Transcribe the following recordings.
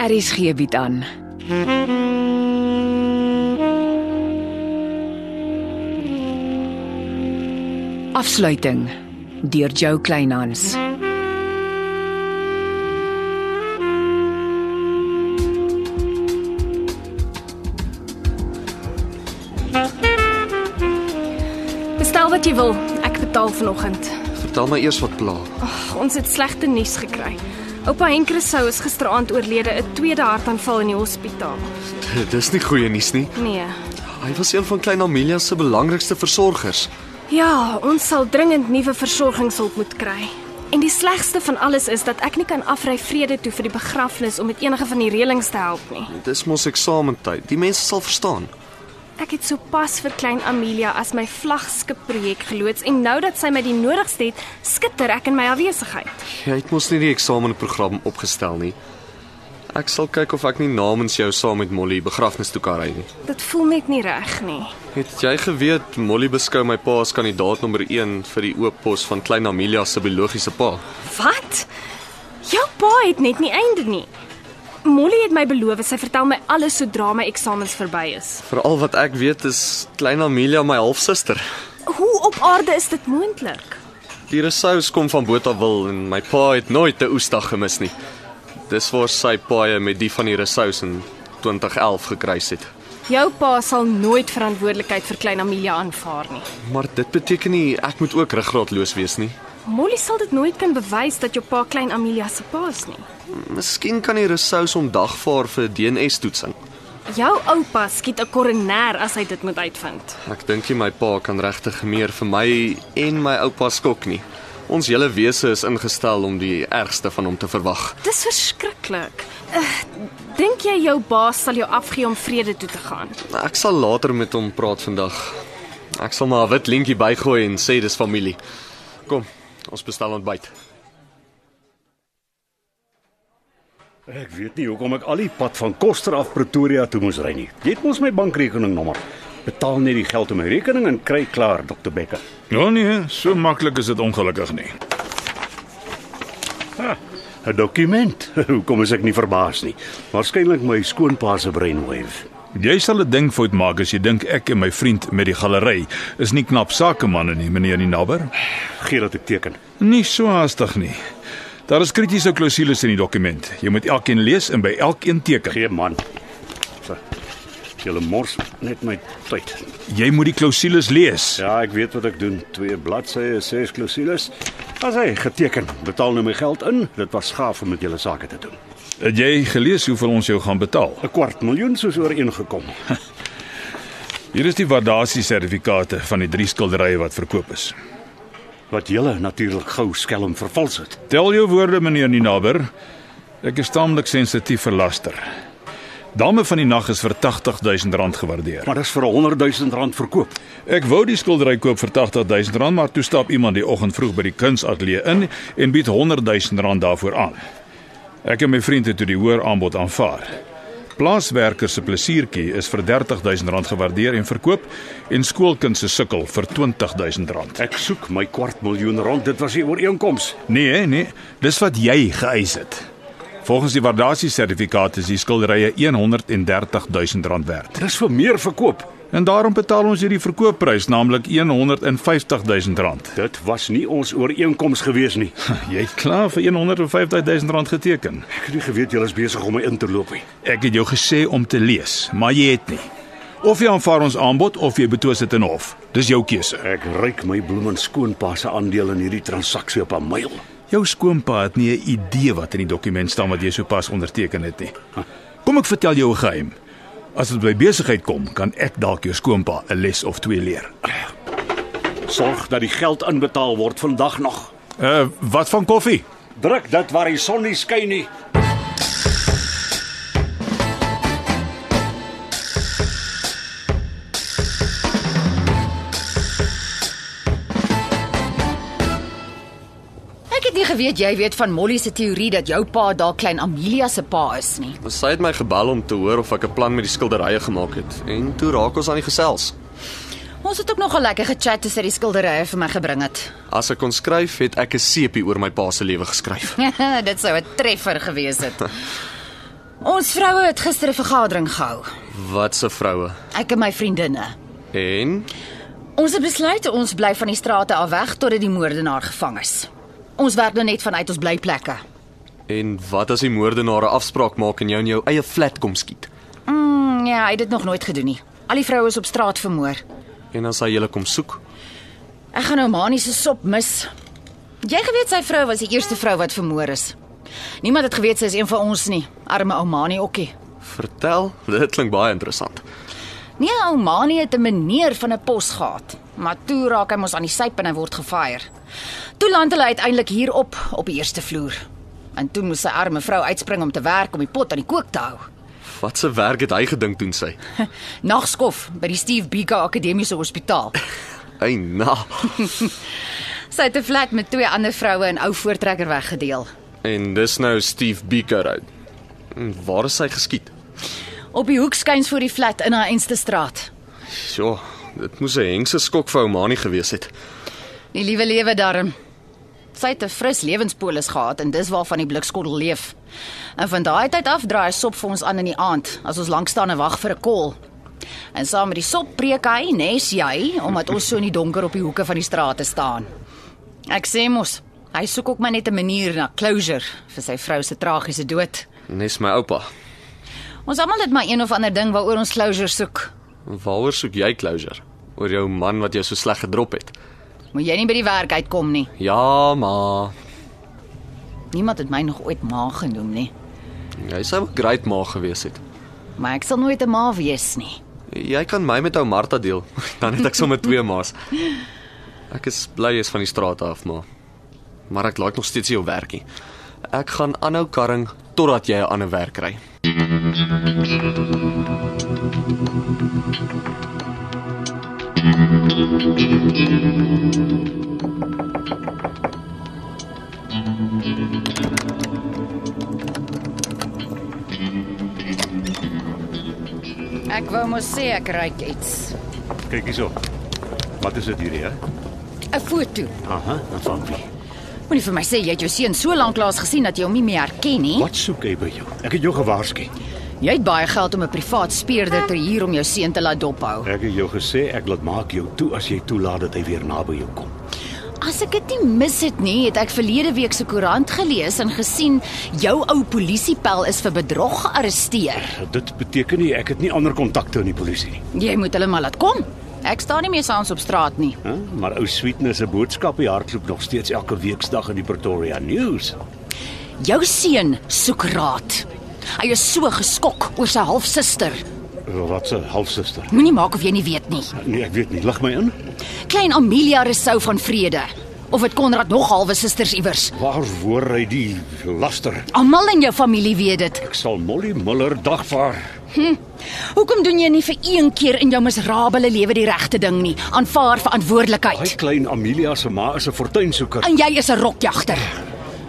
RSG bied Er aan. Afsluiting deur Jo Kleinhans. Bestel wat jy wil. Ek betaal vanoggend. Vertel my eers wat pla. Ag, Ons het slegte nuus gekry. Oupa Henk Rousseau is gisteraand oorlede 'n tweede hartaanval in die hospitaal. Dis nie goeie nuus nie. Nee. Hy was een van Klein Amelia se belangrikste versorgers. Ja, ons sal dringend nuwe versorgingshulp moet kry. En die slegste van alles is dat ek nie kan afry vrede toe vir die begrafnis om met enige van die reëlings te help nie. Dis mos eksamentyd. Die mense sal verstaan. Ek het sopas vir klein Amelia as my vlaggenskap projek geloods en nou dat sy my die nodigste het, skitter ek in my afwesigheid. Jy het mos nie die eksamenprogram opgestel nie. Ek sal kyk of ek nie namens jou saam met Molly begrafnis toe kan ry nie. Dit voel net nie reg nie. Het jy geweet Molly beskou my pa as kandidaat nommer 1 vir die oop pos van Klein Amelia se biologiese pa? Wat? Jou pa het net nie einde nie. Molly het my beloof sy vertel my alles sodra my eksamens verby is. Veral wat ek weet is Klein Amelia my halfsuster. Hoe op aarde is dit moontlik? Die resous kom van Botawil en my pa het nooit 'n oesdag gemis nie. Dis waar sy paaie met die van die resous in 2011 gekruis het. Jou pa sal nooit verantwoordelikheid vir klein Amelia aanvaar nie. Maar dit beteken nie ek moet ook ruggraatloos wees nie. Molly sal dit nooit kan bewys dat jou pa klein Amelia se pa is nie. Miskien kan die resous hom dagvaar vir 'n DNA-toetsing. Jou oupa skiet 'n koronêr as hy dit moet uitvind. Ek dink nie my pa kan regtig meer vir my en my oupa skok nie. Ons hele wese is ingestel om die ergste van hom te verwag. Dis verskriklik. Uh, Dink jy jou baas sal jou afgee om vrede toe te gaan? Nou, Ek sal later met hom praat vandag. Ek sal maar 'n wit lintjie bygooi en sê dis familie. Kom, ons bestel ontbyt. Ek weet nie hoekom ek al die pad van Koster af Pretoria toe moes ry nie. Jy het mos my bankrekeningnommer. Betaal net die geld op my rekening en kry klaar, Dr Becker. Ja nee, so maklik is dit ongelukkig nie. 'n Dokument. Hoekom is ek nie verbaas nie? Waarskynlik my skoonpa se brainwave. Jy sal 'n ding fout maak as jy dink ek en my vriend met die galery is nie knap sakemanne nie, meneer die naber. Gee dat ek teken. Nie so haastig nie. Daar is kritiese klousules in die dokument. Jy moet elkeen lees en by elkeen teken. Gee man. So. Julle mors net my tyd. Jy moet die klousules lees. Ja, ek weet wat ek doen. Twee bladsye, ses klousules. As hy geteken, betaal nou my geld in. Dit was gaaf om met julle sake te doen. Het jy gelees hoeveel ons jou gaan betaal? 'n Kwart miljoen soos ooreengekom. Hier is die waardasie sertifikate van die drie skilderye wat verkoop is. wat julle natuurlik gou skelm vervals het. Tel jou woorde, meneer Ninaber. Ek is taamlik sensitief vir laster. Dame van die nag is vir R80000 gewaardeer. Maar dis vir 100 000 rand verkoop. Ek wou die skildery koop vir R80000, maar toe stap iemand die oggend vroeg by die kunsateljee in en bied R100000 daarvoor aan. Ek en my vriend het toe die hoër aanbod aanvaar. Plaaswerker se plesiertjie is vir R30000 gewaardeer en verkoop en skoolkind se sukkel vir R20000. Ek soek my kwart miljoen rand. Dit was die ooreenkoms. Nee, hè, nee, dis wat jy geëis het. Volgens die waardasiesertifikaat is die skilderye R130000 werd. Dis vir meer verkoop. En daarom betaal ons hierdie verkoopprys, naamlik R150000. Dit was nie ons ooreenkoms gewees nie. Jy het klaar vir R150000 geteken. Ek het nie geweet julle is besig om my in te loop nie. Ek het jou gesê om te lees, maar jy het nie. Of jy aanvaar ons aanbod of jy betwis dit in hof. Dis jou keuse. Ek ryk my bloem en skoonpa se aandeel in hierdie transaksie op 'n myl. Jou skoonpa het nie 'n idee wat in die dokument staan wat jy sopas onderteken het nie. Kom ek vertel jou 'n geheim. As dit by besigheid kom, kan ek dalk jou skoonpa 'n les of twee leer. Sorg dat die geld inbetaal word vandag nog. Uh, wat van koffie? Druk dat waar die son nie skyn nie. Ek het nie geweet jy weet van Molly se teorie dat jou pa dalk klein Amelia se pa is nie. Sy het my gebel om te hoor of ek 'n plan met die skilderye gemaak het en toe raak ons aan die gesels. Ons het ook nog 'n lekker gechat tussen die skilderye vir my gebring het. As ek kon skryf, het ek 'n sepie oor my pa se lewe geskryf. Dit sou 'n treffer gewees het. Ons vroue het gister 'n vergadering gehou. Wat se vroue? Ek en my vriendinne. En Ons het besluit ons bly van die strate af weg totdat die moordenaar gevang is. Ons werk nou net vanuit ons blyplekke. en wat as die moordenaar 'n afspraak maak en jou in jou eie flat kom skiet? Mm, ja, hy het dit nog nooit gedoen nie. Al die vroue is op straat vermoor. En as hy julle kom soek? Ek gaan nou Mani se sop mis. Jy geweet sy vrou was die eerste vrou wat vermoor is. Niemand het geweet sy is een van ons nie. Arme ou Mani okkie. Vertel, dit klink baie interessant. Nee, ou Mani het 'n meneer van 'n pos gehad, maar toe raak hy mos aan die syp en hy word gefire. Toe land hulle uiteindelik hier op op die eerste vloer. En toe moes sy arme vrou uitspring om te werk om die pot aan die kook te hou. Wat se werk het hy gedink doen sy? Nagskof by die Steve Biko Akademiese Hospitaal. Hy na. Sy het 'n flat met twee ander vroue in ou voortrekker weggedeel. En dis nou Steve Beaker uit. En Waar is hy geskiet? Op die hoek skuins voor die flat in haar enste straat. Sjoe, dit moes 'n hengse skok vir Oumani gewees het. Die liewe lewe daarin. Sy het 'n fris lewenspolis gehad en dis waarvan die blikskottel leef. En van daai tyd af draai hy sop vir ons aan in die aand as ons lank staan en wag vir 'n kol. En saam met die sop preek hy, nes jy, omdat ons so in die donker op die hoeke van die strate staan. Ek sê mos, hy soek ook maar net 'n manier na closure vir sy vrou se tragiese dood. Nes my oupa. Ons almal het maar een of ander ding waaroor ons closure soek. Waaroor soek jy closure? Oor jou man wat jou so sleg gedrop het. Moet jy nie by die werk uitkom nie. Ja, ma. Niemand het my nog ooit ma genoem nie, Jy sou 'n great ma gewees het. maar ek sal nooit 'n ma wees nie. Jy kan my met ou Martha deel. Dan het ek sommer twee ma's. Ek is bly jy's van die straat af, ma. Maar ek laik nog steeds jou werk nie. Ek gaan aanhou karring totdat jy 'n ander werk kry. Ek wou mos sê ek ruik iets. Kyk hierso. Wat is dit hierdie, hè? 'n Foto. Aha, en van wie? Moenie vir my sê jy het jou seun so lank laas gesien dat jy hom nie meer herken nie. Wat soek hy by jou? Ek het jou gewaarsku. Jy het baie geld om 'n privaat speurder te huur om jou seun te laat dophou. Ek het jou gesê ek laat maak jou toe as jy toelaat dat hy weer naby jou kom. As ek dit nie mis het nie, het ek verlede week se koerant gelees en gesien jou ou polisiepel is vir bedrog gearresteer. Dit beteken nie ek het nie ander kontakte in die polisie nie. Jy moet hulle maar laat kom. Ek staan nie meer saans op straat nie. Hè? Maar ou Sweetness se boodskappe hardloop nog steeds elke weekdag in die Pretoria News. Jou seun soek raad. Hy is so geskok oor sy halfsuster. Wat 'n halfsuster. Moenie maak of jy nie weet nie. Nee, ek weet nie. Lig my in. Klein Amelia Resou van Vrede. Of het Konrad nog halwe susters iewers? Waar hoor hy die laster? Almal in jou familie weet dit. Ek sal Molly Muller dagvaar. Hoekom doen jy nie vir een keer in jou miserabele lewe die regte ding nie? Aanvaar Hy verantwoordelikheid. klein Amelia se ma is 'n fortuinsoeker. En jy is 'n rokjagter.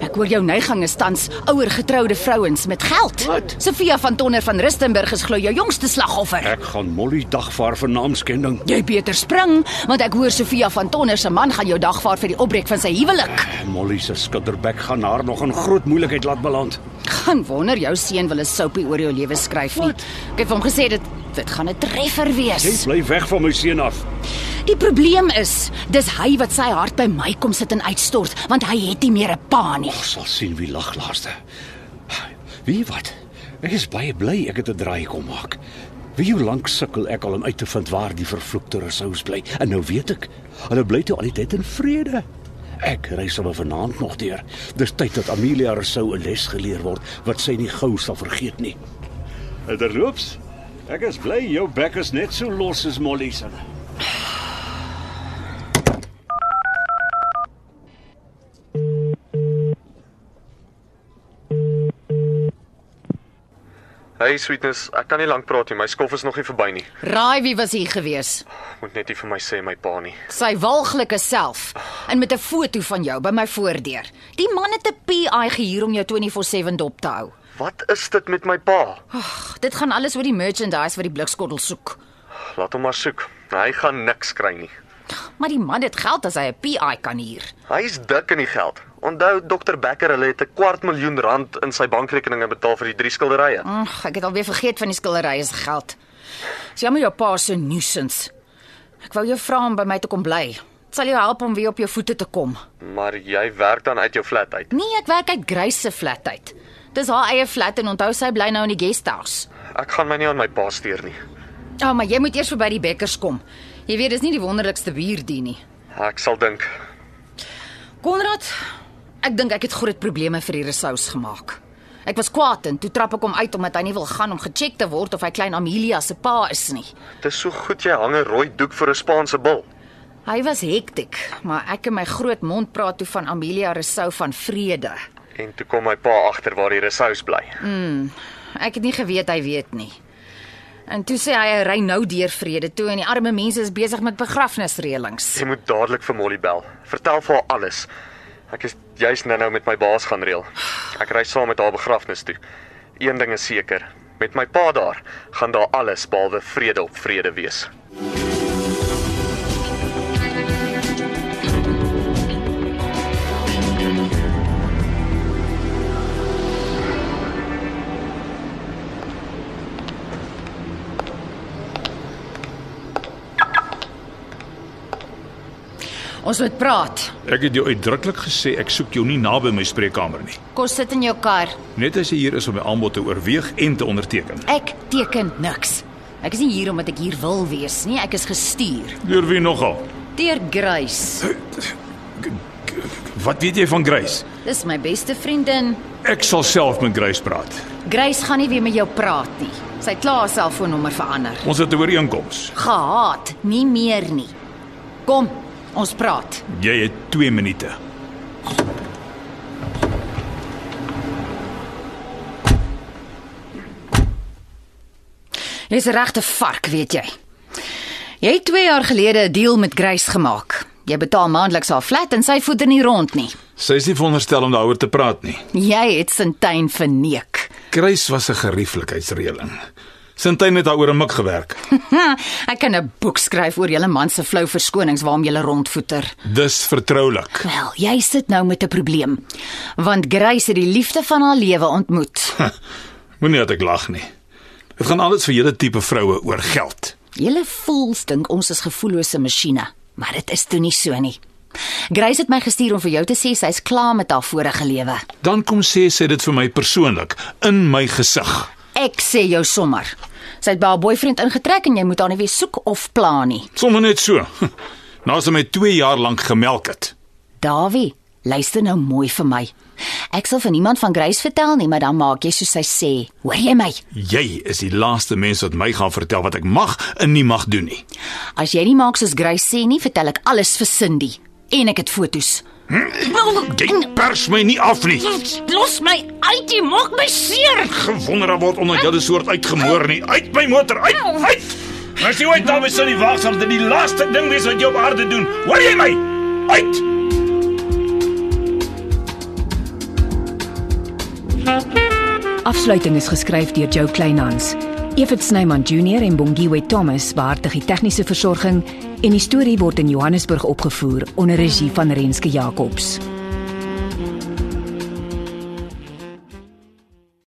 Ek hoor jou neiging is tans ouer getroude vrouens met geld. Wat? Sofia van Tonner van Rustenburg is glo jou jongste slagoffer. Ek gaan Molly dagvaar vir naamskending. Jy beter spring, want ek hoor Sofia van Tonner se man gaan jou dagvaar vir die opbreek van sy huwelik. Molly se skitterbek gaan haar nog in groot moeilikheid laat beland. Gaan wonder jou seun wil 'n soapie oor jou lewe skryf nie. Wat? Ek het vir hom gesê dit dit gaan 'n treffer Jy wees. bly weg van my seun af. Die probleem is, dis hy wat sy hart by my kom sit en uitstort, want hy het nie meer 'n pa nie. Ons sal sien wie lag laaste. Wie wat? Ek is baie bly ek het 'n draai kom maak. Wie hoe lank sukkel ek al om uit te vind waar die vervloekte resous bly. En nou weet ek, hulle bly toe al die tyd in vrede. Ek ry sommer vanaand nog deur. Dis tyd dat Amelia resou 'n les geleer word wat sy nie gou sal vergeet nie. Terloops, ek is bly jou bek is net so los as Molly se. Hey Sweetness, ek kan nie lank praat nie. My skof is nog nie verby nie. Raai wie was hier gewees? Moet net nie vir my sê my pa nie. Sy walglike self en met 'n foto van jou by my voordeur. Die man het 'n PI gehuur om jou 24/7 dop te hou. Wat is dit met my pa? Ag, dit gaan alles oor die merchandise wat die blikskottel soek. Laat hom maar soek. Hy gaan niks kry nie. Maar die man het geld as hy 'n PI kan huur. Hy's dik in die geld. Onthou dokter Becker hulle het 'n kwart miljoen rand in sy bankrekeninge betaal vir die drie skilderye. Ag, ek het alweer vergeet van die skilderye se geld. Dis jammer jou pa se nuisance. Ek wou jou vra om by my te kom bly. Dit sal jou help om weer op jou voete te kom. Maar jy werk dan uit jou flat uit. Nee, ek werk uit Grace se flat uit. Dis haar eie flat en onthou sy bly nou in die guesthouse. Ek gaan my nie aan my pa steur nie. Ja, oh, maar jy moet eers verby die Bekkers kom. Jy weet, dis nie die wonderlikste buurdie nie. Ek sal dink. Konrad, ek dink ek het groot probleme vir hierdie sous gemaak. Ek was kwaad en toe trap ek hom uit omdat hy nie wil gaan om gecheck te word of hy klein Amelia se pa is nie. Dit is so goed jy hang 'n rooi doek vir 'n Spaanse bil. Hy was hektiek, maar ek en my groot mond praat toe van Amelia Rousseau van vrede. En toe kom my pa agter waar die resous bly. Ek het nie geweet hy weet nie. En toe sê hy hy ry nou deur vrede toe en die arme mense is besig met begrafnisreëlings. Jy moet dadelik vir Molly bel. Vertel vir haar alles. Ek is juis nou-nou met my baas gaan reël. Ek ry saam met haar begrafnis toe. Een ding is seker, met my pa daar gaan daar alles behalwe vrede op vrede wees. Ons moet praat. Ek het jou uitdruklik gesê ek soek jou nie naby my spreekkamer nie. Kom sit in jou kar. Net as jy hier is om my aanbod te oorweeg en te onderteken. Ek teken niks. Ek is nie hier omdat ek hier wil wees nie. Ek is gestuur Deur wie nogal? deur Grace. Wat weet jy van Grace? Dis my beste vriendin. Ek sal self met Grace praat. Grace gaan nie weer met jou praat nie. Sy het klaar haar selfoonnommer verander. Ons het 'n ooreenkoms. Gehaat, nie meer nie. Kom, ons praat. Jy het 2 minute. Jy's 'n regte vark, weet jy. Jy het 2 jaar gelede 'n deal met Grace gemaak. Jy betaal maandeliks haar flat en sy voeder nie rond nie. Sy is nie veronderstel om daaroor te praat nie. Jy het Sintyn verneek. Grace was 'n gerieflikheidsreëling. Sintyn het daaroor 'n mik gewerk. Hm, Ek kan 'n boek skryf oor julle man se flou verskonings waarom julle rondvoeter. Dis vertroulik. Wel, jy sit nou met 'n probleem. Want Grace het die liefde van haar lewe ontmoet. Moenie dat ek lag nie. Dit gaan alles vir julle tipe vroue oor geld. Julle voels dink ons is gevoellose masjiene, maar dit is toe nie so nie. Grace het my gestuur om vir jou te sê sy's klaar met haar vorige lewe. Dan kom sê sy dit vir my persoonlik in my gesig. Ek sê jou sommer. Sy het by haar boyfriend ingetrek en jy moet haar nie weer soek of pla nie. Sommige net so. Nou as hy my 2 jaar lank gemelk het. Dawie, luister nou mooi vir my. Ek sal vir niemand van Grace vertel nie, maar dan maak jy soos sy sê. Hoor jy my? Jy is die laaste mens wat my gaan vertel wat ek mag en nie mag doen nie. As jy nie maak soos Grace sê nie, vertel ek alles vir Cindy en ek het fotos. Jy pers my nie af nie. Hm? Los my uit, jy maak my seer. Gewonder daar word onder julle soort uitgemoor nie. Uit my motor, uit, uit. As jy ooit daarmee sal nie waag sal dit die laaste ding wees wat jy op aarde doen. Hoor jy my? Uit. Afsluiting is geskryf deur Jo Kleinhans. Evit Snyman Junior en Bongwe Thomas beheerdig die tegniese versorging en die storie word in Johannesburg opgevoer onder regie van Renske Jacobs.